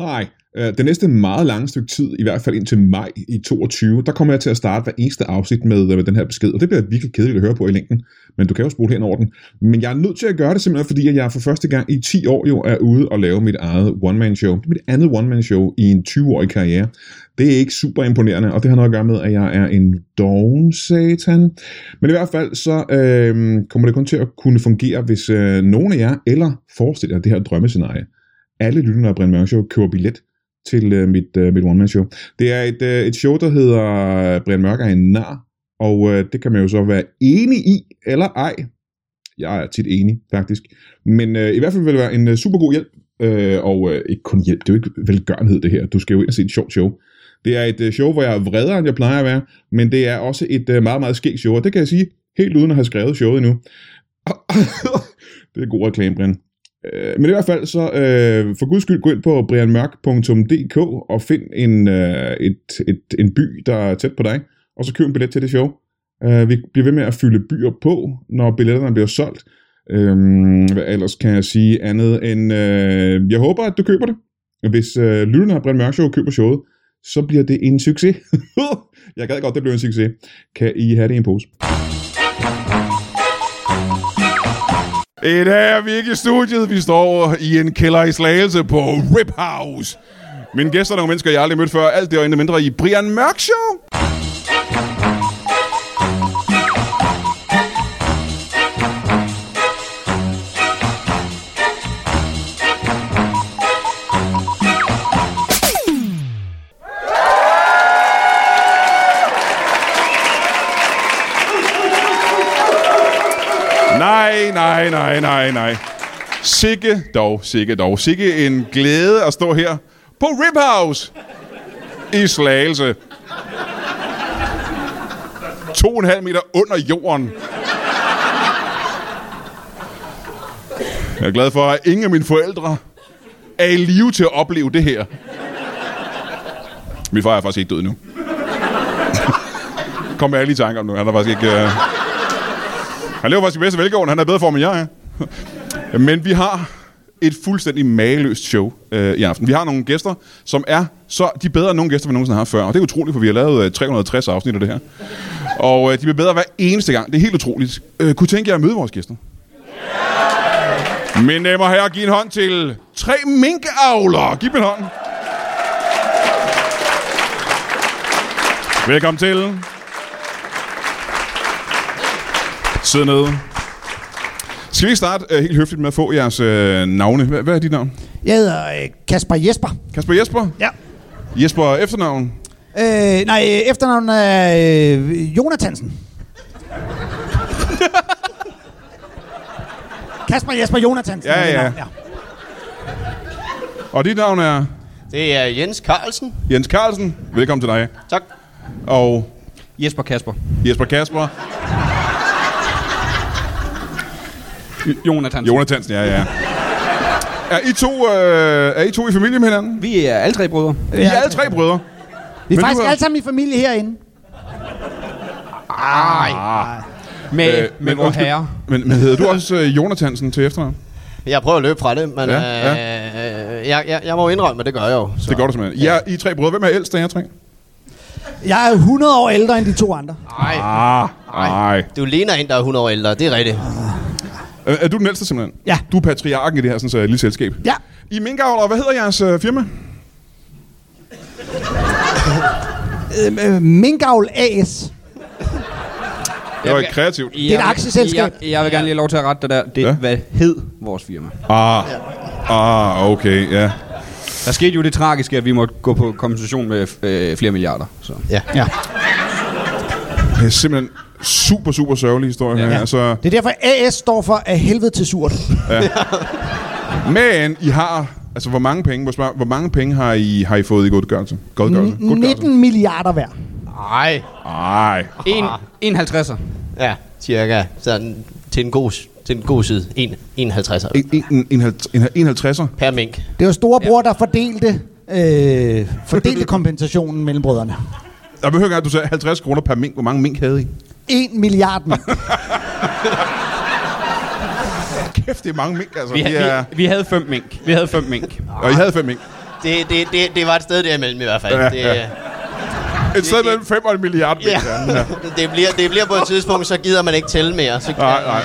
Hej. Øh, Det næste meget lange stykke tid, i hvert fald indtil maj i 22, der kommer jeg til at starte hver eneste afsnit med, øh, med den her besked, og det bliver virkelig kedeligt at høre på i længden, men du kan jo spole hen over den. Men jeg er nødt til at gøre det simpelthen, fordi at jeg for første gang i 10 år jo er ude og lave mit eget one-man-show. Det er mit andet one-man-show i en 20-årig karriere. Det er ikke super imponerende, og det har noget at gøre med, at jeg er en doven satan. Men i hvert fald så øh, kommer det kun til at kunne fungere, hvis øh, nogen af jer, eller forestiller jer det her drømmescenarie, alle lytterne af Brian Mørk Show køber billet til øh, mit, øh, mit one-man-show. Det er et, øh, et show, der hedder øh, Brian Mørk er en nar, og øh, det kan man jo så være enig i, eller ej. Jeg er tit enig, faktisk. Men øh, i hvert fald vil det være en øh, super god hjælp, øh, og øh, ikke kun hjælp, det er jo ikke velgørenhed det her. Du skal jo ind og se et sjovt show. Det er et øh, show, hvor jeg er vredere, end jeg plejer at være, men det er også et øh, meget, meget skægt show, og det kan jeg sige, helt uden at have skrevet showet endnu. det er god reklame, Brian. Øh, men i hvert fald så, øh, for guds skyld, gå ind på brianmørk.dk og find en, øh, et, et, en by, der er tæt på dig, og så køb en billet til det show. Øh, vi bliver ved med at fylde byer på, når billetterne bliver solgt. Øh, hvad ellers kan jeg sige andet end, øh, jeg håber, at du køber det. Hvis øh, lytterne af Brian Mørk Show køber showet, så bliver det en succes. jeg gad godt, det blev en succes. Kan I have det i en pose? I dag er vi ikke i studiet. Vi står i en kælder i Slagelse på Rip House. Mine gæster er nogle mennesker, jeg aldrig mødt før. Alt det og intet mindre i Brian Mørk Show. Nej, nej, nej, nej, nej. Sikke dog, sikke dog. Sikke en glæde at stå her på Rip House i Slagelse. To og en halv meter under jorden. Jeg er glad for, at ingen af mine forældre er i live til at opleve det her. Min far er faktisk ikke død nu. Kom med alle i tanker om nu. Han er faktisk ikke... Uh... Han lever faktisk i bedste velgående. Han er i bedre form, end jeg er. Men vi har et fuldstændig mageløst show øh, i aften. Vi har nogle gæster, som er så de er bedre end nogle gæster, vi nogensinde har haft før. Og det er utroligt, for vi har lavet øh, 360 afsnit af det her. Og øh, de bliver bedre hver eneste gang. Det er helt utroligt. Øh, kunne tænke jer at møde vores gæster? Mine damer og herrer, giv en hånd til tre minkavlere. Giv dem en hånd. Velkommen til. Sid nede. Skal vi ikke starte uh, helt høfligt med at få jeres uh, navne? Hvad, hvad er dit navn? Jeg hedder øh, Kasper Jesper. Kasper Jesper? Ja. Jesper efternavn? Øh, nej, øh, efternavnet er øh, Jonathansen. Kasper Jesper Jonathansen. Ja, er mit ja. navn, Og dit navn er Det er Jens Carlsen. Jens Carlsen. Velkommen til dig. Tak. Og Jesper Kasper. Jesper Kasper. Jonathan. Jo. Jonathansen, ja, ja. Er I, to, uh, er I to i familie med hinanden? Vi er alle tre brødre. I er alle tre brødre. Vi er Men faktisk du er- alle sammen i familie herinde. Med, Øh, øh, med vor undskyld, herre. Men, men hedder du også uh, Jonathansen til efternavn? Jeg prøver at løbe fra det, men Ja, ja, øh, øh, jeg, jeg, jeg må jo indrømme, at det gør jeg jo. Så. Det gør du simpelthen. Ja. I er tre brødre. Hvem er ældst af jer tre? Jeg er 100 år ældre end de to andre. Nej, Ah, nej. du ligner en, der er 100 år ældre. Det er rigtigt. Er, er du den ældste simpelthen? Ja. Du er patriarken i det her sådan, så lille selskab. Ja. I minkavler, hvad hedder jeres øh, firma? Øh, øh, Minkavl AS. Det var et kreativt. Det er et aktieselskab. Jeg, jeg vil gerne lige have lov til at rette dig der. Det, Ja. ja. Hvad hed vores firma? Ah, ah, okay, ja. Der skete jo det tragiske, at vi måtte gå på kompensation med øh, flere milliarder. Så. Ja. Ja. Det er simpelthen super, super sørgelig historie ja. her. Altså, Det er derfor, AS står for af helvede til surt. men I har, altså hvor mange penge, hvor, spørg, hvor mange penge har I, har I fået i godgørelse? Godgørelse? Godgørelse? 19 milliarder hver. Nej. Ej, En, en 50'er. Ja, cirka. Sådan til en god, til en god side. En, 51 en, en, en, en, halv- en, en 50'er? per mink. Det var storebror, der fordelte, øh, fordelte kompensationen mellem brødrene. Jeg behøver ikke, at du sagde 50 kroner per mink. Hvor mange mink havde I? 1 milliard mand. Kæft, det er mange mink, altså. Vi, Det ha- er, altså. vi, vi havde fem mink. Vi havde fem mink. og I havde fem mink. Det, det, det, det var et sted derimellem i hvert fald. Ja, det, ja. Et sted mellem 5 og en milliard. ja. mener han. Ja. det, bliver, det bliver på et tidspunkt, så gider man ikke tælle mere. Så kan- Nej, nej.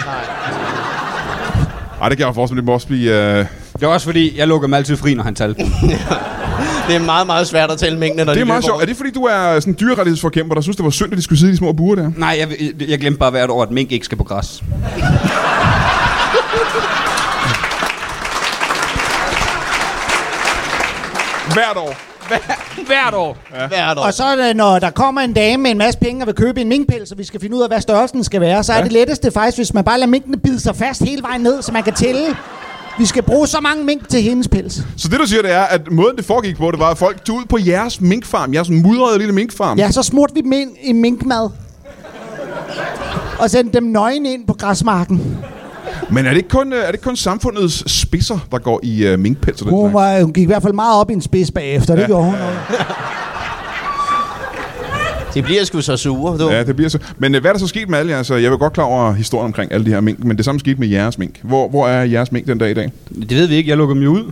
Ej, det kan jeg forestille mig, det må også blive... Øh... Det var også fordi, jeg lukker mig altid fri, når han talte. Det er meget, meget svært at tælle mængden, når Det er de meget løber sjovt. Er rundt. det fordi, du er sådan en dyrerettighedsforkæmper, der synes, det var synd, at de skulle sidde i de små buer der? Nej, jeg, jeg- jeg glemte bare hvert år, at mink ikke skal på græs. Hvert år. Hver, hvert år. Hvert år. Og så er det, når der kommer en dame med en masse penge og vil købe en minkpels, og vi skal finde ud af, hvad størrelsen skal være, så er det letteste faktisk, hvis man bare lader minkene bide sig fast hele vejen ned, så man kan tælle. Vi skal bruge så mange mink til hendes pels. Så det, du siger, det er, at måden, det foregik på, det var, at folk tog ud på jeres minkfarm, jeres mudrede lille minkfarm. Ja, så smurte vi dem ind i minkmad. Og sendte dem nøgen ind på græsmarken. Men er det ikke kun, øh, er det ikke kun samfundets spidser, der går i uh, minkpels og den Hun, slags? var, hun gik i hvert fald meget op i en spids bagefter, ja. det gjorde hun. De bliver sgu så sure, du. Ja, det bliver så. Men øh, hvad er der så sket med alle jeres? øh, Jeg er godt klar over historien omkring alle de her mink, men det samme skete med jeres mink. Hvor, hvor er jeres mink den dag i dag? Det ved vi ikke, jeg lukker dem jo ud.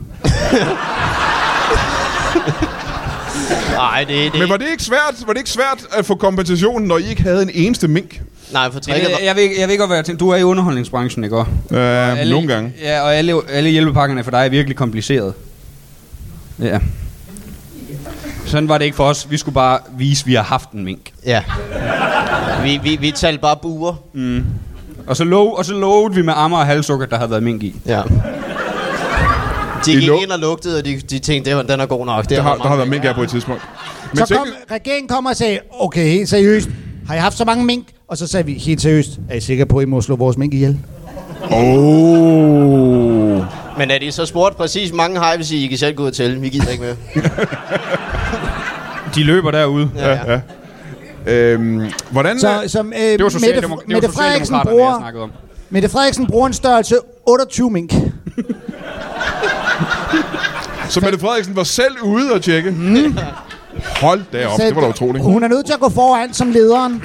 Nej, det, det, Men var det ikke svært, var det ikke svært at få kompensation, når I ikke havde en eneste mink? Øh, nej, for Jeg, tricket jeg, var... jeg, ved, ikke- jeg ved ikke, hvad jeg tænker. Du er i underholdningsbranchen, ikke? også? Uh, Alle- nogle gange. Ja, og alle, alle hjælpepakkerne for dig er virkelig kompliceret. Ja. Sådan var det ikke for os. Vi skulle bare vise, at vi har haft en mink. Ja. Vi, vi, vi talte bare buer. Og så, lov, og så lovede vi med ammer og halssukker, der havde været mink i. Ja. De I gik lå- ind og lugtede, og de, de tænkte, det var, den er god nok. Det Der er har, meget- der har været mink her på et tidspunkt. Men Så tænk, kom, regeringen kom og sagde, okay, helt seriøst, har I haft så mange mink? Og så sagde vi, helt seriøst, er I sikre på, at I må slå vores mink ihjel? Oh. Men er de så spurgt præcis, mange har I, hvis I, I kan selv gå ud og tælle. Vi gider ikke mere. De løber derude. Ja, ja. Øhm, hvordan... Så som øh, Det var Mette, Socialdemok- det Mette, var Frederiksen Socialdemokraterne, jeg bruger, snakkede om. Mette Frederiksen bruger en størrelse 28 mink. Så Mette Frederiksen var selv ude og tjekke. Mm. Hold da op, Så det var da utroligt. Hun er nødt til at gå foran som lederen.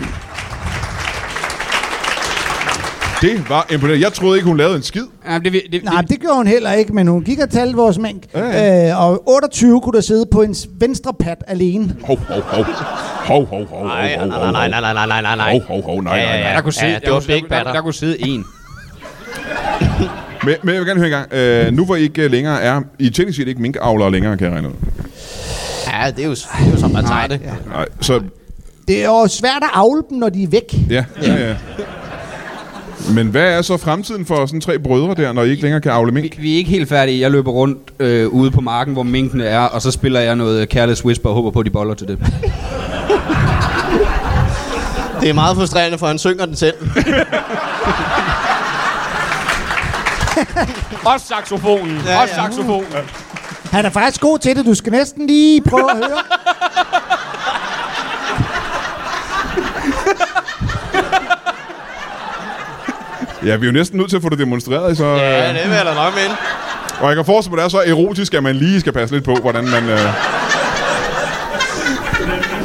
Det var imponerende. Jeg troede ikke, hun lavede en skid. Ja, det, det, det, Nej, det gjorde hun heller ikke, men hun gik og talte vores mink. Ja. Øh, og 28 kunne der sidde på en venstre pat alene. Hov, hov, hov. Hov, hov, hov, Nej, hov, hov, nej, nej, nej, nej, nej, nej, nej. Hov, hov, hov, nej, Ja, nej, ja, nej. ja. der kunne sidde, det var der, Big kunne- der, Batter. der, der kunne sidde en. Men, men jeg vil gerne høre en gang. Øh, nu hvor I ikke øh, længere er... I er teknisk set ikke minkavlere længere, kan jeg regne ud. Ja, det er jo, det er jo som man tager det. Nej, så... Det er jo svært at afle dem, når de er væk. Ja. ja. Men hvad er så fremtiden for sådan tre brødre der, når I ikke længere kan avle mink? Vi er ikke helt færdige. Jeg løber rundt øh, ude på marken, hvor minkene er, og så spiller jeg noget Careless Whisper og håber på, at de boller til det. Det er meget frustrerende, for han synger den selv. Også saxofonen. Ja, Også ja. saxofonen. Han er faktisk god til det. Du skal næsten lige prøve at høre. Ja, vi er jo næsten nødt til at få det demonstreret, så... Ja, Øh, det vil jeg da nok mene. og jeg kan forestille mig, det er så erotisk, at man lige skal passe lidt på, hvordan man... Øh...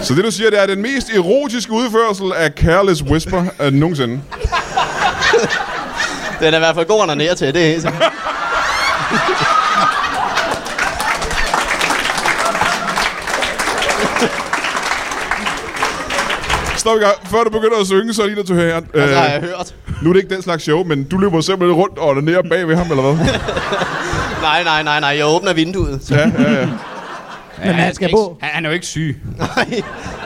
Så det, du siger, det er den mest erotiske udførsel af Careless Whisper øh, nogensinde. Den er i hvert fald god, han er til, det er helt sikkert. Stop i gang. Før du begynder at synge, så er lige nødt til at høre her. Det har jeg Øh, hørt. nu er det ikke den slags show, men du løber simpelthen rundt og ned bag ved ham, eller hvad? Nej, nej, nej, nej, jeg åbner vinduet. Så. Ja, ja, ja. Men han skal på. Han, han er jo ikke syg. Nej,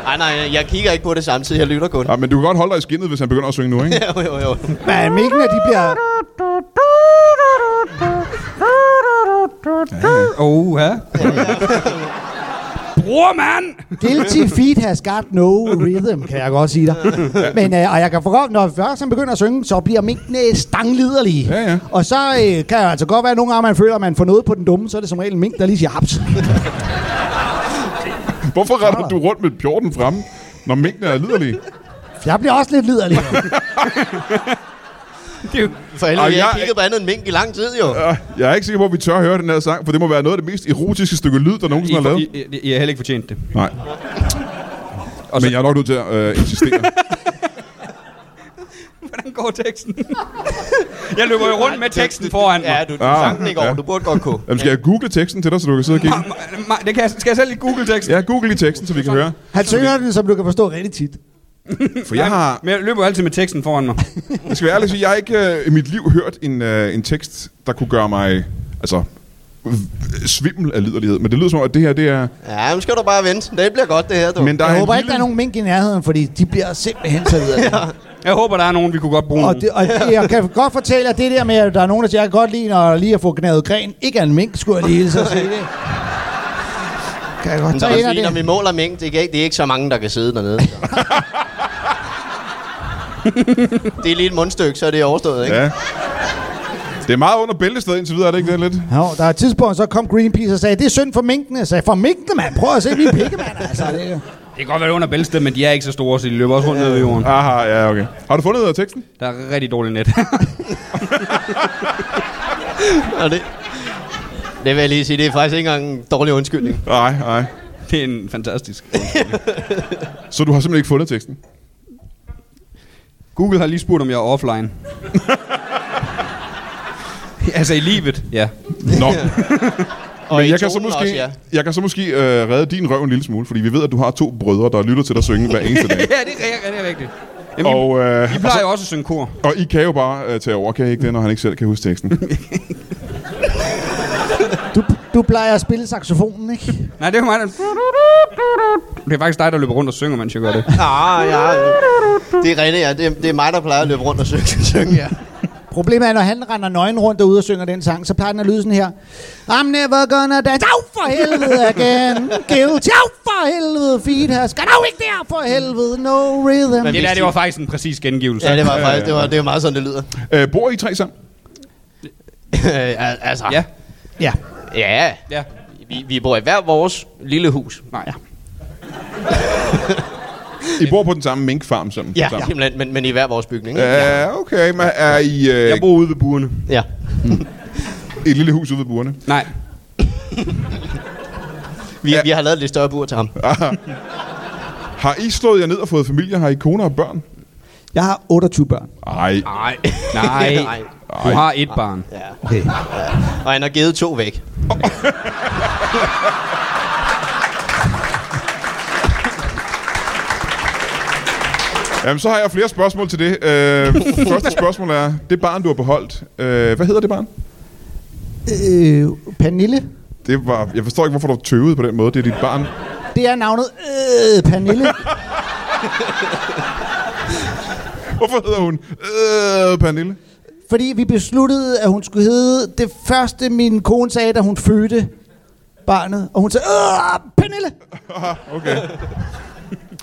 nej, nej, jeg kigger ikke på det samtidig, jeg lytter kun. ja Ah, men du kan godt holde dig i skinnet, hvis han begynder at synge nu, ikke? Jo, jo, jo. Men minkene, de bliver... Oh, ja. Bror, mand! Guilty feet has got no rhythm, kan jeg godt sige dig. Men, øh, og jeg kan forstå, når først han begynder at synge, så bliver minkene stangliderlige. Ja, ja. Og så øh, kan det altså godt være, at nogle gange man føler, at man får noget på den dumme, så er det som regel en mink, der lige siger haps. Hvorfor retter du rundt med pjorten frem, når minkene er liderlige? Jeg bliver også lidt liderlig. For helvede, Og jeg har jeg- ikke kigget på andet end mink i lang tid, jo. Øh, Jeg er ikke sikker på, at vi tør høre den her sang, for det må være noget af det mest erotiske stykke lyd, der I, nogensinde er lavet. I, I, I har heller ikke fortjent det. Nej. Og så- Men jeg er nok nødt til at øh, insistere. Hvordan går teksten? Jeg løber jo rundt med teksten foran mig. Ja, du, du Ah, sang den ikke over. ja. Du burde godt kunne. Jamen, skal jeg google teksten til dig, så du kan sidde og kigge? Ma- ma- Det kan jeg, skal jeg selv lige google teksten? Ja, google lige teksten, så vi kan høre. Han synger den, som du kan forstå rigtig tit. For jeg har, Men jeg løber jo altid med teksten foran mig. jeg skal være ærlig at sige, jeg har ikke øh, i mit liv hørt en, øh, en tekst, der kunne gøre mig, altså, v- svimmel af liderlighed. Men det lyder som om, at det her, det er... Ja, nu skal du bare vente. Det bliver godt, det her, du. Men der Jeg er en håber ikke, lille- der er nogen mink i nærheden, fordi de bliver simpelthen så videre. Jeg håber, der er nogen, vi kunne godt Og, bruge. nogen. det, og det, jeg kan godt fortælle, at det der med, at der er nogen, der siger, jeg kan godt lide, når lige at få gnavet gren, ikke er en mink, skulle jeg lige hilse og sige det. Kan jeg godt Så man tage sige, en når af vi det? måler mængde, det, kan, ikke- det er ikke så mange, der kan sidde dernede. det er lige et mundstykke, så er det overstået, ikke? Ja. Ja. Det er meget under bæltestedet indtil videre, er det ikke det lidt? Jo, der er et tidspunkt, så kom Greenpeace og sagde, det er synd for minkene. Jeg sagde, for minkene, mand? Prøv at se, vi er pikke, mand. Altså, det, Det kan godt være under bælsted, men de er ikke så store, så de løber også rundt ned i jorden. Aha, ja, okay. Har du fundet ud af teksten? Der er rigtig dårligt net. Og det, det vil jeg lige sige, det er faktisk ikke engang en dårlig undskyldning. Nej, nej. det er en fantastisk. Så du har simpelthen ikke fundet teksten? Google har lige spurgt, om jeg er offline. altså i livet, ja. Nå, Og i jeg kan, så tonen måske, Også, ja. jeg kan så måske øh, redde din røv en lille smule, fordi vi ved, at du har to brødre, der lytter til dig synge hver eneste dag. ja, det er, det er rigtigt. Jamen, og, Og, øh, I plejer jo også at synge kor. og I kan jo bare øh, tage over, kan I ikke det, når han ikke selv kan huske teksten? du, du plejer at spille saxofonen, ikke? Nej, det er jo mig, der... Det er faktisk dig, der løber rundt og synger, mens jeg gør det. Ah, ja, det er rigtigt, ja. Det, er- det er mig, der plejer at løbe rundt og synge, synge ja. Problemet er, når han render nøgen rundt derude og synger den sang, så plejer den at lyde sådan her. I'm never gonna dance. Au for helvede again. Guilty. Au for helvede. Feet has got. Au ikke der for helvede. No rhythm. Men- Det der, det var faktisk en præcis gengivelse. ja, det var faktisk, det var, det var meget sådan, det lyder. øh, bor I tre sammen? Øh, al- altså, Ja, Ja. ja. ja. Vi, vi bor i hver vores lille hus. Nej, ja. I bor på den samme minkfarm sammen? Ja, sammen. simpelthen, men, men i hver vores bygning. ikke? Ja, okay, men er I øh, Jeg bor ude ved buerne. Ja. i et lille hus ude ved burene? Nej, Vi, Ja. vi har lavet et lidt større bur til ham. Har I slået jer ned og fået familie? Har I koner og børn? Jeg har 28 børn. Nej. Nej. nej. Du har et barn. Ja. Okay. Og han har givet to væk. Jamen, så har jeg flere spørgsmål til det. Øh, første spørgsmål er, det barn, du har beholdt, øh, hvad hedder det barn? Øh, Pernille. Det var, jeg forstår ikke, hvorfor du tøvede på den måde. Det er dit barn. Det er navnet øh, Pernille. Hvorfor hedder hun? Øh, Pernille. fordi vi besluttede, at hun skulle hedde det første, min kone sagde, da hun fødte barnet. Og hun sagde, øh, Pernille. Aha, okay.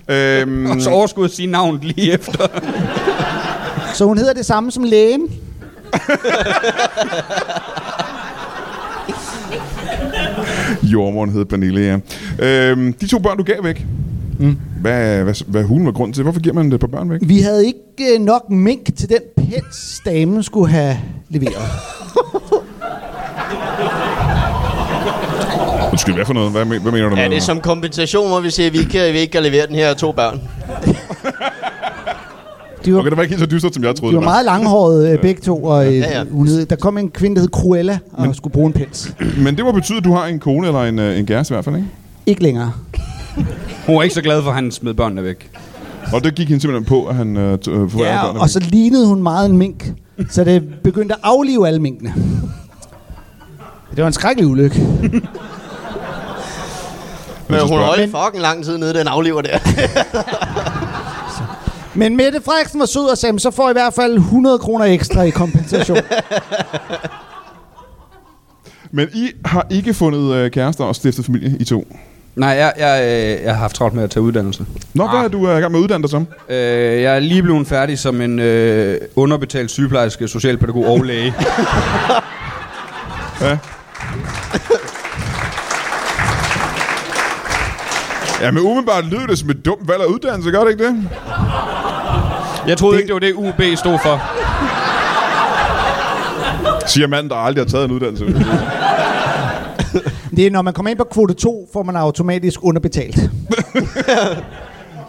øhm, Og så overskud at sige navnet lige efter. Så hun hedder det samme som lægen. jordmoren hed Pernille, ja. Øhm, de to børn, du gav væk. Mm. Hvad, hvad, hvad hulen var grund til? Hvorfor giver man det på børn væk? Vi havde ikke øh, nok mink til den pels, damen skulle have leveret. Undskyld, hvad for noget? Hvad, men- hvad mener du med Er det her? som kompensation, hvor vi siger, at vi ikke, vi ikke kan levere den her to børn? De var, Okay, okay, det var ikke helt så dystert, som jeg troede. de var det var. meget langhårede øh, begge to, og øh, Ja, ja. hun hed, der kom en kvinde, der hed Cruella, og Men. skulle bruge en pels. Men det må betyde, at du har en kone eller en, øh, en kæreste i hvert fald, ikke? Ikke længere. Hun var ikke så glad for, at han smed børnene væk. Og det gik hende simpelthen på, at han øh, t- øh, forværrede Ja, børnene. og så lignede hun meget en mink, så det begyndte at aflive alle minkene. Det var en skrækkelig ulykke. Men hun spørger- holdt fucking lang tid nede, den aflever der. Men Mette Frederiksen var sød og sagde, "Men så får I i hvert fald 100 kroner ekstra i kompensation. Men I har ikke fundet øh, kærester og stiftet familie, I to. Nej, jeg, jeg, øh, jeg har haft travlt med at tage uddannelse. Nå, hvad er du øh, i gang med at uddanne dig som? Øh, jeg er lige blevet færdig som en øh, underbetalt sygeplejerske, socialpædagog og læge. Ja, men umiddelbart lyder det som et dumt valg af uddannelse, gør det ikke det? Jeg troede ikke, det var det, UB stod for. Siger manden, der aldrig har taget en uddannelse. Det er, når man kommer ind på kvote 2, får man automatisk underbetalt.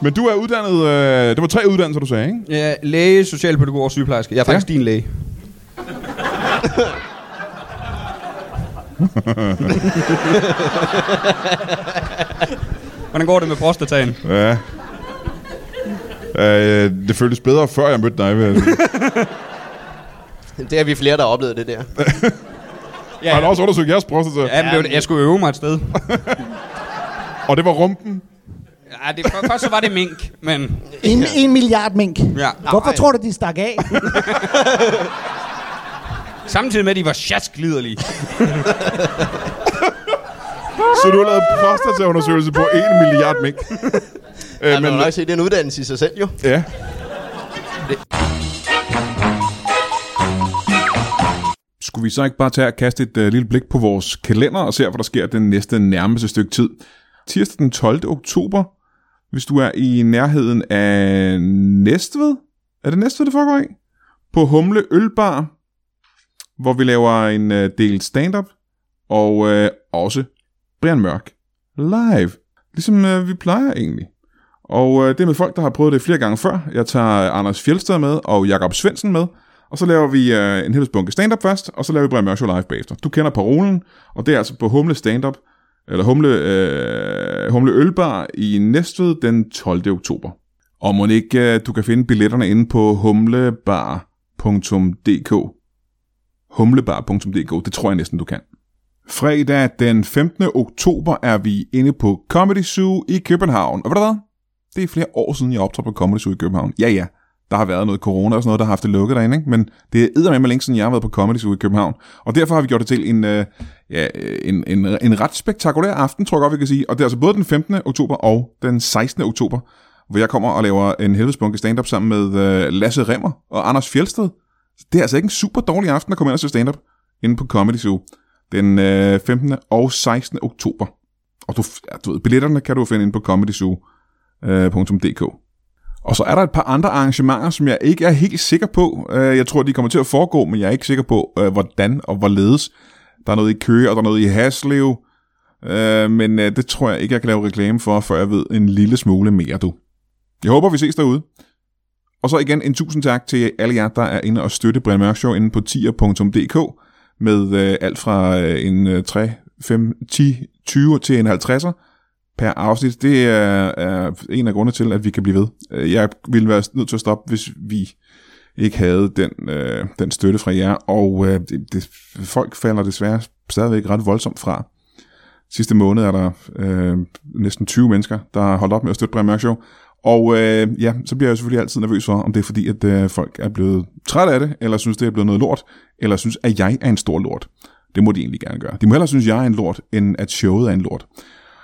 men du er uddannet... Øh, det var tre uddannelser, du sagde, ikke? Ja, læge, socialpædagog og sygeplejerske. Jeg er faktisk ja. din læge. Hvordan går det med prostataen? Ja. Øh, det føltes bedre, før jeg mødte dig. vil jeg sige. Det er vi flere, der har oplevet det der. Ja, Har du også undersøgt jeres prostata? Ja, men det var, det. jeg skulle øve mig et sted. Og det var rumpen. Ja, det, for- først så var det mink, men... En, en milliard mink. Ja. Hvorfor Nej. tror du, de stak af? Samtidig med, at de var sjaskliderlige. Så du har lavet prostataundersøgelse på 1 milliard mink. øh, Ja, men man må nok sige, det er en uddannelse i sig selv jo. ja. Skulle vi så ikke bare tage og kaste et øh, lille blik på vores kalender og se, hvad der sker den næste nærmeste stykke tid? Tirsdag den 12. oktober, hvis du er i nærheden af Næstved. Er det Næstved, det foregår i? På Humle Ølbar, hvor vi laver en øh, del stand-up, og øh, også Brian Mørk live, ligesom øh, vi plejer egentlig. Og øh, det er med folk, der har prøvet det flere gange før. Jeg tager øh, Anders Fjeldsted med og Jakob Svendsen med, og så laver vi øh, en hel bunke stand-up først, og så laver vi Brian Mørk Show live bagefter. Du kender parolen, og det er altså på Humle Stand-up, eller Humle, øh, Humle Ølbar i Næstved den 12. oktober. Og må ikke, øh, du kan finde billetterne inde på humlebar.dk. Humlebar.dk, det tror jeg næsten, du kan. Fredag den 15. oktober er vi inde på Comedy Zoo i København. Og ved du hvad? Det er flere år siden, jeg optrådte på Comedy Zoo i København. Ja, ja. Der har været noget corona og sådan noget, der har haft det lukket derinde, ikke? men det er eddermame længe siden, jeg har været på Comedy Zoo i København. Og derfor har vi gjort det til en, øh, ja, øh, en, en, en ret spektakulær aften, tror jeg godt, vi kan sige. Og det er altså både den 15. oktober og den 16. oktober, hvor jeg kommer og laver en helvedes bunke stand-up sammen med øh, Lasse Remmer og Anders Fjeldsted. Det er altså ikke en super dårlig aften at komme ind og se stand-up inde på Comedy Zoo den øh, 15. og 16. oktober. Og du, ja, du ved, billetterne kan du finde inde på øh, comedyzoo.dk. Og så er der et par andre arrangementer, som jeg ikke er helt sikker på. Øh, Jeg tror, de kommer til at foregå, men jeg er ikke sikker på, øh, hvordan og hvorledes. Der er noget i Køge, og der er noget i Haslev. Øh, Men øh, det tror jeg ikke, jeg kan lave reklame for, før jeg ved en lille smule mere, du. Jeg håber, vi ses derude. Og så igen en tusind tak til alle jer, der er inde og støtte Brian Mørk Show inde på tier.dk med øh, alt fra øh, en øh, 3, 5, 10, 20 til en 50'er per afsnit. Det er, er en af grundene til, at vi kan blive ved. Øh, Jeg ville være nødt til at stoppe, hvis vi ikke havde den, øh, den støtte fra jer, og øh, det, det, folk falder desværre stadigvæk ret voldsomt fra. Sidste måned er der øh, næsten 20 mennesker, der har holdt op med at støtte Brian Mørk Show. Og øh, ja, så bliver jeg selvfølgelig altid nervøs for, om det er fordi, at øh, folk er blevet trætte af det, eller synes, det er blevet noget lort, eller synes, at jeg er en stor lort. Det må de egentlig gerne gøre. De må hellere synes, jeg er en lort, end at showet er en lort.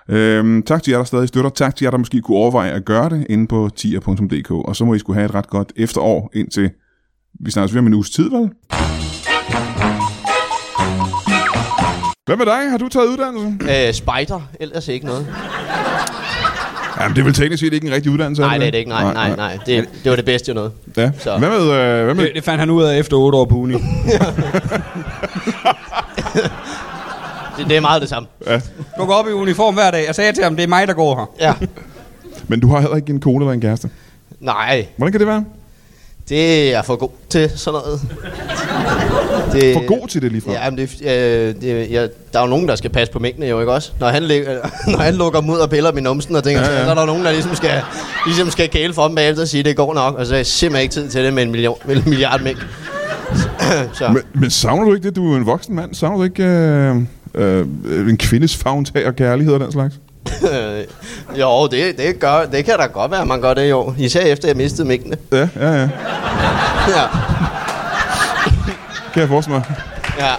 Øhm, tak til jer, der stadig støtter. Tak til jer, der måske kunne overveje at gøre det inde på tier.dk. Og så må I skulle have et ret godt efterår indtil vi snakkes ved om en uges tid, vel? Hvad med dig? Har du taget uddannelse? Øh, spider, ellers ikke noget. Jamen, det er vel teknisk set ikke en rigtig uddannelse? Nej, det er det ikke. Nej, nej, nej. Det, det var det bedste jo noget. Ja. Så. Hvad med... Øh, hvad med Det, det fandt han ud af efter 8 år på uni. Det Det, det er meget det samme. Du går op i uniform hver dag. Jeg sagde til ham, det er mig, der går her. Ja. men du har heller ikke en kone eller en kæreste. Nej, Hvordan kan det være? det er jeg for god til sådan noget. Det, For god til det ligefrem. Ja, men det, øh, det, ja, der er jo nogen, der skal passe på mængden jo, ikke også? Når han, lig, når han lukker dem ud og piller dem i numsen og tænker, ja, ja. så er der nogen, der ligesom skal, ligesom skal kæle for dem bagefter og sige, det går nok, og så er jeg simpelthen ikke tid til det med en, million, med en milliard mængd. så, men, Men, men savner du ikke det? Du er jo en voksen mand. Savner du ikke øh, øh, en kvindes favntag og kærlighed og den slags? øh, jo, det, det, gør, det kan da godt være, at man gør det jo. Især efter jeg mistede mængden. Ja, ja, ja. Ja. Kan jeg forestille mig. ja.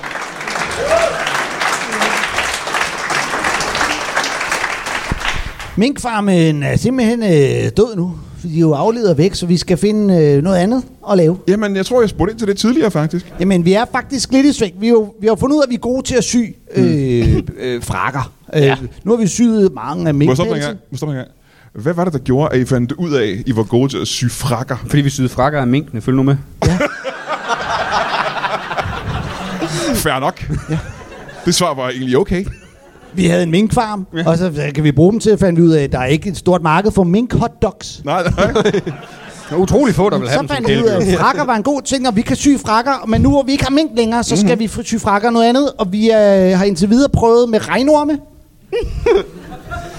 Minkfarmen er simpelthen øh, død nu. fordi De er jo afledet og væk, så vi skal finde øh, noget andet at lave. Jamen, jeg tror, jeg spurgte ind til det tidligere, faktisk. Jamen, vi er faktisk lidt i sving. Vi, er jo, vi har fundet ud af, at vi er gode til at sy øh, øh, frakker. Øh, ja. Nu har vi syet mange af Må jeg stoppe dig en minkpelsen. gang? Må jeg stoppe dig en gang? Hvad var det, der gjorde, at I fandt ud af, at I var gode til at sy frakker? Fordi vi syede frakker af minkene. Følg nu med. Fair nok. Ja. Det svar var egentlig okay. Vi havde en minkfarm, ja. og så øh, kan vi bruge dem til at finde ud af, at der er ikke et stort marked for mink hotdogs. Nej, nej. Der er utrolig få, der vil have Så dem som fandt vi ud af, kæledyr. at frakker var en god ting, og vi kan sy frakker, men nu hvor vi ikke har mink længere, så skal Mhm. mm-hmm. vi fry- sy frakker og noget andet, og vi øh, har indtil videre prøvet med regnorme.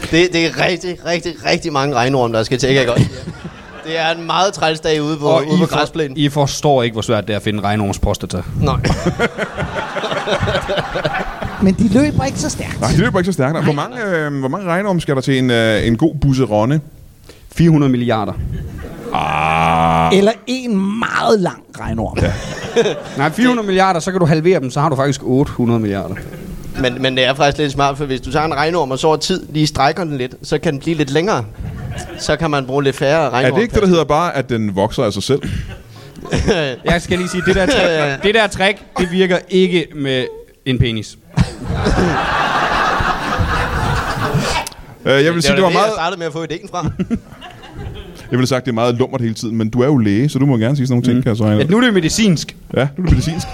Det, det er rigtig, rigtig, rigtig mange regnorm, der skal til, ikke godt. Det er en meget træls dag ude på, Og ude på I, for, græsplænen. I forstår ikke, hvor svært det er at finde regnorms prostata. Nej. Men de løber ikke så stærkt. Nej, de løber ikke så stærkt. Hvor mange, øh, hvor mange regnorm skal der til en, øh, en god busseronde? 400 milliarder. Ah, Eller en meget lang regnorm. Ja. Nej, 400 milliarder, så kan du halvere dem, så har du faktisk 800 milliarder. Men, men det er faktisk lidt smart, for hvis du tager en regnorm og så tid, lige strækker den lidt, så kan den blive lidt længere. Så kan man bruge lidt færre regnorm. er det ikke det, der hedder bare, at den vokser af sig selv? Øh, Jeg skal lige sige, det der trick, det der trick det virker ikke med en penis. Øh, jeg vil sige, det var det, jeg meget... startede med at få idéen fra. Jeg Mm. ville have sagt, det er meget lummert hele tiden, men du er jo læge, så du må gerne sige sådan nogle ting, kan jeg så regne At ud. nu er det medicinsk. Det Ja, du er medicinsk.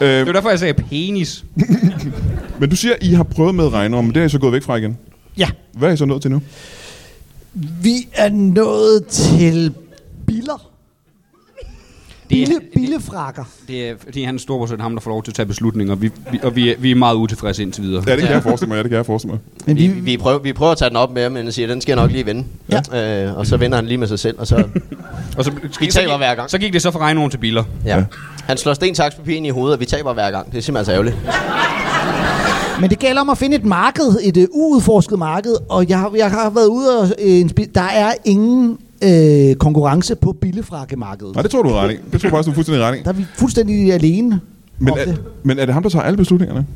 øh, var derfor, jeg sagde penis. men du siger, I har prøvet med regnorm, men det er I så gået væk fra igen. ja. Hvad er I så nået til nu? Vi er nået til biller. Bille, billefrakker. Det er, fordi han er storbror, ham, der får lov til at tage beslutninger, og vi, vi, og vi, er, vi er meget utilfredse indtil videre. Ja, det kan jeg forestille mig, ja, det kan jeg forestille mig. Men Vi, vi, prøver, vi prøver at tage den op med ham, men jeg siger, den skal jeg nok lige vende. Ja. Øh, og så vender han lige med sig selv, og så... Og så, Vi så, taber hver gang. Så gik det så fra regnorm til biler. Ja. Ja. ja. Han slår sten, saks, papir ind i hovedet, og vi taber hver gang. Det er simpelthen så ærgerligt. Men det gælder om at finde et marked, et øh, uudforsket marked, og jeg, har- jeg har været ude og... Øh, en spi- der er ingen øh, konkurrence på billefrakkemarkedet. Nej, det tror du er ret i. Det tror jeg faktisk, du er fuldstændig ret i. Der er vi fuldstændig alene. Men om er, det. men er det ham, der tager alle beslutningerne?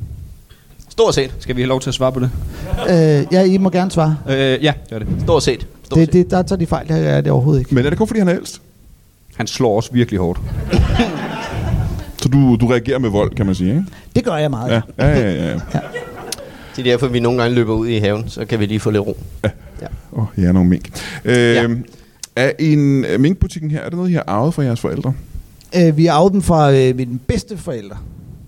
Stort set. Skal vi have lov til at svare på det? Øh, ja, I må gerne svare. Øh, ja, det er det. Stort set. Stort Det, set. det, der tager de fejl, der er det overhovedet ikke. Men er det kun, fordi han er ældst? Han slår os virkelig hårdt. Så du, du reagerer med vold, kan man sige, ikke? Det gør jeg meget. Ja, ja, ja. ja, ja. Det er derfor, vi nogle gange løber ud i haven, så kan vi lige få lidt ro. Åh, oh, jeg er nogle mink. Øh, Ja. Er en er minkbutikken her, er det noget, I har arvet fra jeres forældre? Øh, vi er af den fra øh, mine bedste forældre.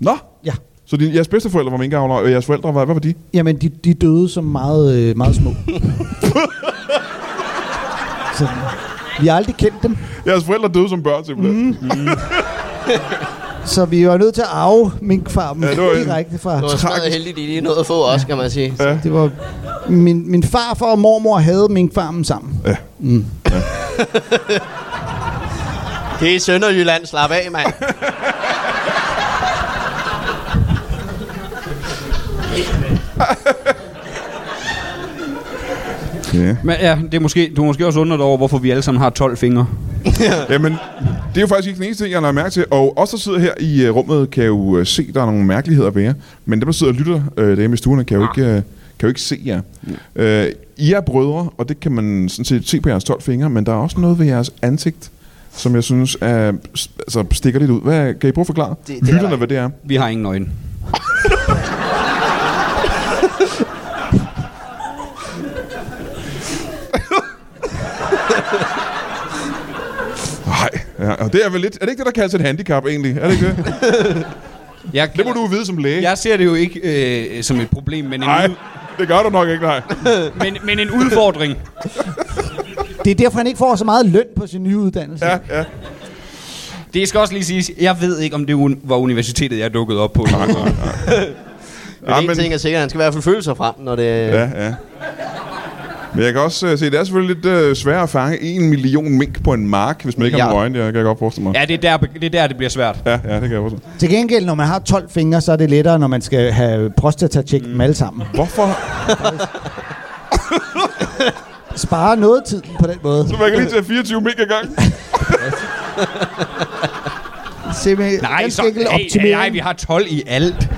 Nå, Ja. så din, jeres bedsteforældre var minkavlere, og jeres forældre var, hvad var de? Jamen, de, de døde som meget, øh, meget små. Så, vi har aldrig kendt dem, Jeres forældre døde som børn, simpelthen. Mm. så vi var nødt til at arve minkfarmen Ja, ja, det var en- direkte fra... Det var stadig heldigt, de lige nåede at få os, kan man sige. Ja. Det var min, min farfar og mormor havde minkfarmen sammen. Ja. Det er Sønderjylland, slap af, mand. ja. Men ja, det er måske, du er måske også undret over, hvorfor vi alle sammen har 12 fingre. Jamen, det er jo faktisk ikke den eneste ting, jeg har lagt mærke til. Og os, der sidder her i øh, rummet, kan jo øh, se, der er nogle mærkeligheder ved jer. Men dem, der sidder og lytter øh, derhjemme i stuerne, kan jo, ikke, øh, kan jo ikke se jer. Øh, I er brødre, og det kan man sådan set se på jeres 12 fingre, men der er også noget ved jeres ansigt, som jeg synes er, s- altså, stikker lidt ud. Hvad, kan I prøve at forklare det er det, det lytterne, der- hvad det er? Vi har ingen øjne. Nej, ja, og det er vel lidt... Er det ikke det, der kaldes et handicap egentlig? Er det ikke det? Jeg, Det må du jo vide som læge. Jeg ser det jo ikke øh, som et problem, men en, Nej, ud, det gør du nok ikke, nej. men, men en udfordring. Det er derfor, han ikke får så meget løn på sin nye uddannelse. Ja, ja. Det skal også lige siges, jeg ved ikke, om det un- var universitetet, jeg dukkede op på. Men Ja, en men- ting er sikkert, han skal i hvert fald føle sig frem, når det... Ja. Ja, ja. Men jeg kan også øh, se, det er selvfølgelig lidt øh, sværere at fange en million mink på en mark, hvis man ikke ja. har Ja. nogen øjne. Det kan jeg godt forestille mig. Ja, Ja, det er, der, det er der, det bliver svært. ja, ja det kan jeg forestille mig. Til gengæld, når man har 12 fingre, så er det lettere, når man skal have prostatatjek mm. dem alle sammen. Hvorfor? Spare noget tid på den måde. Så man kan lige tage 24 mink ad gangen. Simpelthen Nej, ganske så, enkelt nej, optimering. nej, vi har 12 i alt.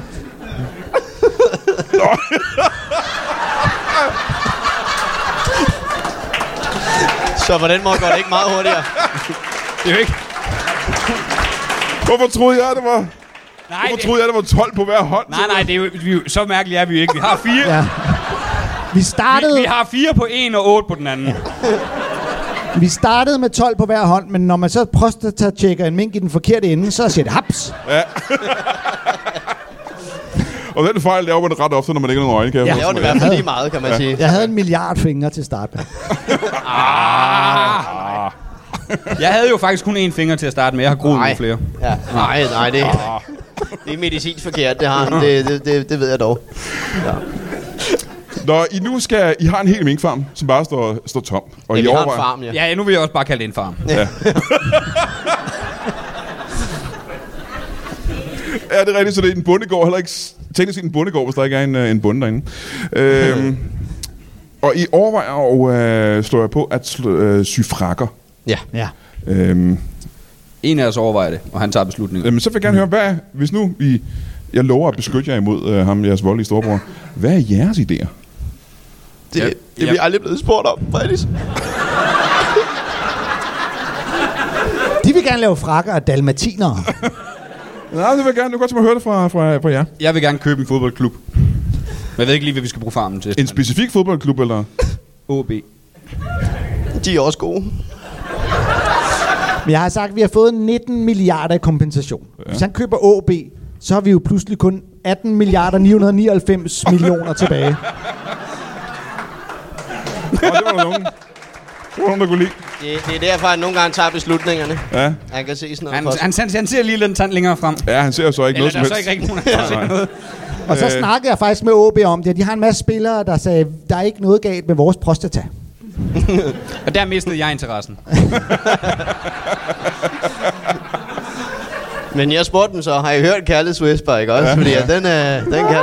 Så på den måde går det ikke meget hurtigere. Det er jo ikke... Hvorfor troede jeg, det var... Nej, Hvorfor det, troede jeg, det var 12 på hver hånd? nej, nej det er jo, vi, er jo- så mærkeligt er vi jo ikke. Vi har fire, Ja. Vi startede, vi, vi har fire på en og otte på den anden. vi startede med 12 på hver hånd, men når man så prostatatjekker en mink i den forkerte ende, så siger det haps. Og den fejl laver man ret ofte, når man ikke har nogen øjne, kan jeg Det er jo i forestille hvert mig. fald lige meget, kan man sige. Jeg havde en milliard fingre til start med. Jeg havde jo faktisk kun én finger til at starte med. Jeg har groet nogle flere. Ja. Nej, nej, det, det er medicinsk forkert, det har han. Det, det, det, det ved jeg dog. Når I nu skal... I har en hel minkfarm, som bare står, står tom. Og I Ja, vi har en overvejer- farm, ja. Ja, nu vil jeg også bare kalde det en farm. Ja, det er rigtigt, så det er en bondegård. Heller ikke s- teknisk set en bondegård, hvis der ikke er en, øh, en bonde derinde. Øhm, og I overvejer og øh, slår jeg på at sl- øh, sy frakker. Ja. Ja. Øhm, En af os overvejer det, og han tager beslutningen. jamen, så vil jeg gerne høre, hvad, hvis nu I, jeg lover at beskytte jer imod øh, ham, jeres voldelige storebror. Hvad er jeres idéer? Det, Ja. det, det er vi Ja. aldrig blevet spurgt om, Fredis. De vil gerne lave frakker og dalmatinere. Nej, det vil jeg gerne. Nu godt tænke mig at høre det fra, fra, fra jer. Jeg vil gerne købe en fodboldklub. Men jeg ved ikke lige, hvad vi skal bruge farmen til. En specifik fodboldklub, eller? OB. De er også gode. Men jeg har sagt, at vi har fået 19 milliarder i kompensation. Ja. Hvis han køber AB, så har vi jo pludselig kun 18 milliarder 999 millioner tilbage. Nå, det var der nogen. Det var nogen, der kunne lide. Det, det er derfor, han nogle gange tager beslutningerne. Ja, Han kan se sådan noget Han, for sig. han, han, han ser lige lidt tand længere frem. ja han ser jo så ikke noget Eller der er som så ikke helst. rigtig nogen, der ser Nej. noget. Og så Øh. snakkede jeg faktisk med AB om det. De har en masse spillere, der sagde, der er ikke noget galt med vores prostata. Og der mistede jeg interessen. Men jeg spurgte dem så, har I hørt Kærlighedswhisper, ikke også? Fordi at den, øh, den kan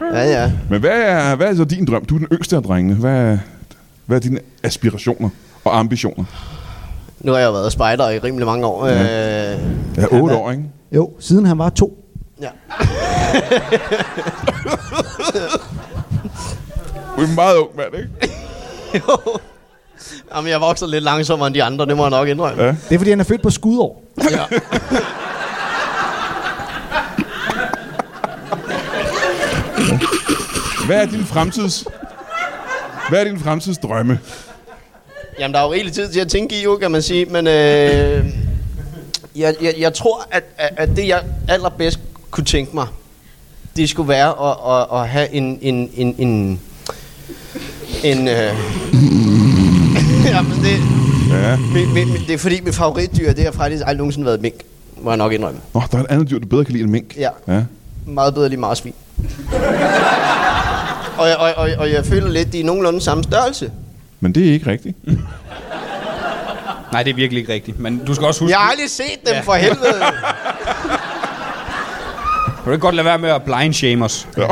noget. Ja, ja. Men hvad er, hvad er så din drøm? Du er den yngste af drengene. Hvad er, hvad er dine aspirationer og ambitioner? Nu har jeg jo været spejder i rimelig mange år. Ja. Øh, Jeg er otte år, ikke? Jo, siden han var to. ja. Du er en meget ung mand, ikke? Jamen, jeg vokser lidt langsommere end de andre, det må jeg nok indrømme. Ja. Det er, fordi han er født på skudår. Ja. Hvad er din fremtids... Hvad er din fremtidsdrømme? Jamen, der er jo rigelig tid til at tænke i, jo, kan man sige. Men øh, jeg, jeg, jeg tror, at, at at det, jeg allerbedst kunne tænke mig, det skulle være at, at, at have en... en, en, en en, øh... Jamen, det, Ja. min, min, min, det er fordi, mit favoritdyr, det har faktisk aldrig nogensinde været mink. Må jeg nok indrømme. Nå, der er et andet dyr, du bedre kan lide end mink. Ja. ja. Meget bedre lige marsvin. og, jeg, og, og, og jeg føler lidt, de er nogenlunde samme størrelse. Men det er ikke rigtigt. Nej, det er virkelig ikke rigtigt. Men du skal også huske... Jeg har aldrig set dem, for helvede. Kan du ikke godt lade være med at blind shame os? Ja.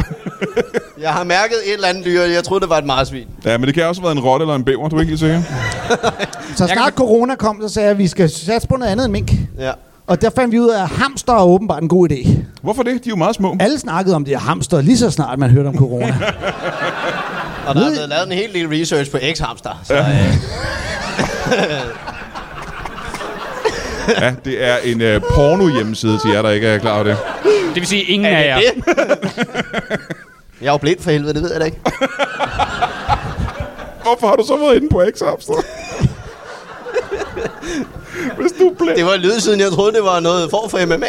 Jeg har mærket et eller andet dyr, jeg troede, det var et marsvin. ja, men det kan også have været en rotte eller en bæver, du er ikke lige sikker. Så kan snart corona kom, så sagde jeg, at vi skal satse på noget andet end mink. Ja. Og der fandt vi ud af, at hamster er åbenbart en god idé. Hvorfor det? De er jo meget små. Alle snakkede om det her hamster, lige så snart man hørte om corona. Og der er blevet lavet en hel del research på X-hamster. Så, øh, Ja, det er en øh, porno hjemmeside til jer, der ikke er klar over det. Det vil sige, ingen er af det jer... det? jeg er jo blind for helvede, det ved jeg da ikke. Hvorfor har du så været inde på x Hvis du er blind. Det var lyd siden, jeg troede, det var noget form for MMA.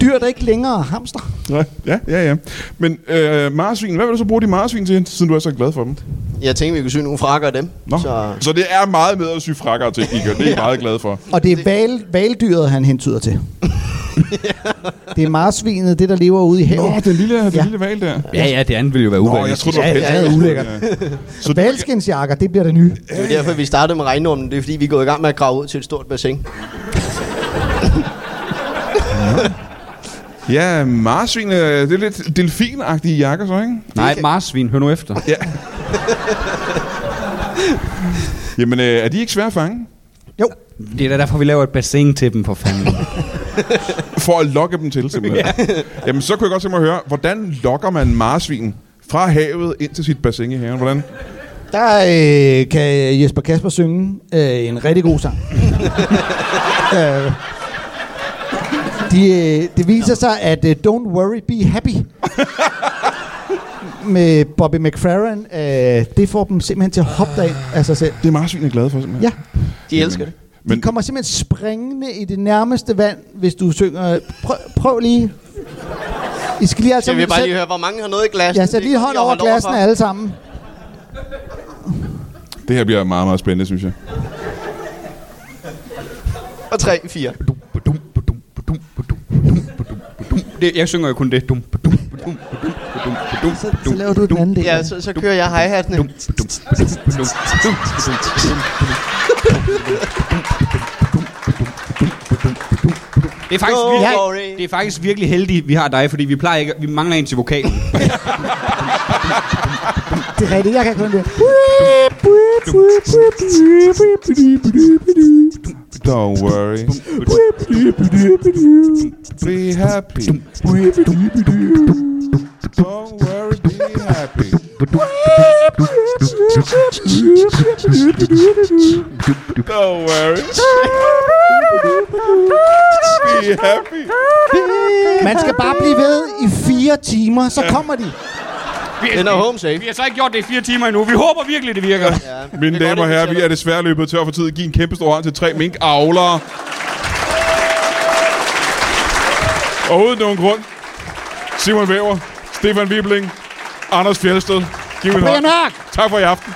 Dyr, der ikke længere er hamster. Nej, Ja, ja, ja. Men øh, marsvin, hvad vil du så bruge de marsvin til, siden du er så glad for dem? Jeg tænkte, vi kunne syge nogle frakker af dem. Nå. Så, Så... så det er meget med at sy frakker til, Igor. Det er jeg meget glad for. Og det er val, valdyret, han hentyder til. det er marsvinet, det der lever ude i havet. Nå, den lille, den Ja. lille val der. Ja, ja, det andet ville jo være Nå, jeg uvalgt. tror du var Ja, pels. ja, det er ulækkert. Så du, Valskinsjakker, det bliver det nye. det er jo derfor, vi startede med regnormen. Det er fordi, vi er gået i gang med at grave ud til et stort bassin. ja, marsvin, øh, det er lidt delfinagtige jakker så, ikke? Nej, marsvin, hør nu efter. Ja. Jamen, øh, er de ikke svære at fange? Jo, Det er da derfor, vi laver et bassin til dem, for fanden. For at lokke dem til, simpelthen. Jamen, så kunne jeg godt tænke mig at høre, hvordan lokker man marsvin fra havet ind til sit bassin i haven? Hvordan? der øh, kan Jesper Kasper synge øh, en rigtig god sang. øh, de, øh, det viser sig, at øh, Don't Worry, Be Happy med Bobby McFerrin, øh, det får dem simpelthen til at hoppe derind af sig selv. Det er marsvin er glad for, simpelthen. Ja. De elsker det. Men de kommer simpelthen springende i det nærmeste vand, hvis du synger... Prøv, prøv lige. I skal lige alle Så sammen... vi bare sæt- lige høre, hvor mange har noget i glasset. Ja, sæt lige hånd over glassene alle sammen. Det her bliver meget, meget spændende, synes jeg. Og tre, fire. Badum, badum, badum, badum, badum, badum, badum, badum. Det, jeg synger jo kun det. Dum, badum, badum, badum, badum, badum, Så, så badum, laver du den anden del. Ja, så, så kører jeg hi-hatten. badum, badum, badum, badum, badum, badum, badum, badum, badum, badum. Det er, faktisk Don't virkelig, worry. det er faktisk virkelig heldigt, vi har dig, fordi vi plejer ikke, vi mangler en til vokalen. Det er rigtigt, jeg kan kun det. Don't worry. Be happy. Don't worry, be happy. Don't worry. Be happy. Man skal bare blive ved i fire timer, så kommer de. Den er home safe. Vi har så ikke gjort det i fire timer endnu. Vi håber virkelig, det virker. Ja, det er Mine godt, damer og at herrer, vi siger er desværre løbet tør for tid. Giv en kæmpe stor hånd til tre minkavlere. Overhovedet nogen grund. Simon Væver, Stefan Wibling, Anders Fjeldsted. Giv en Brian hånd. Mørk! Tak for i aften.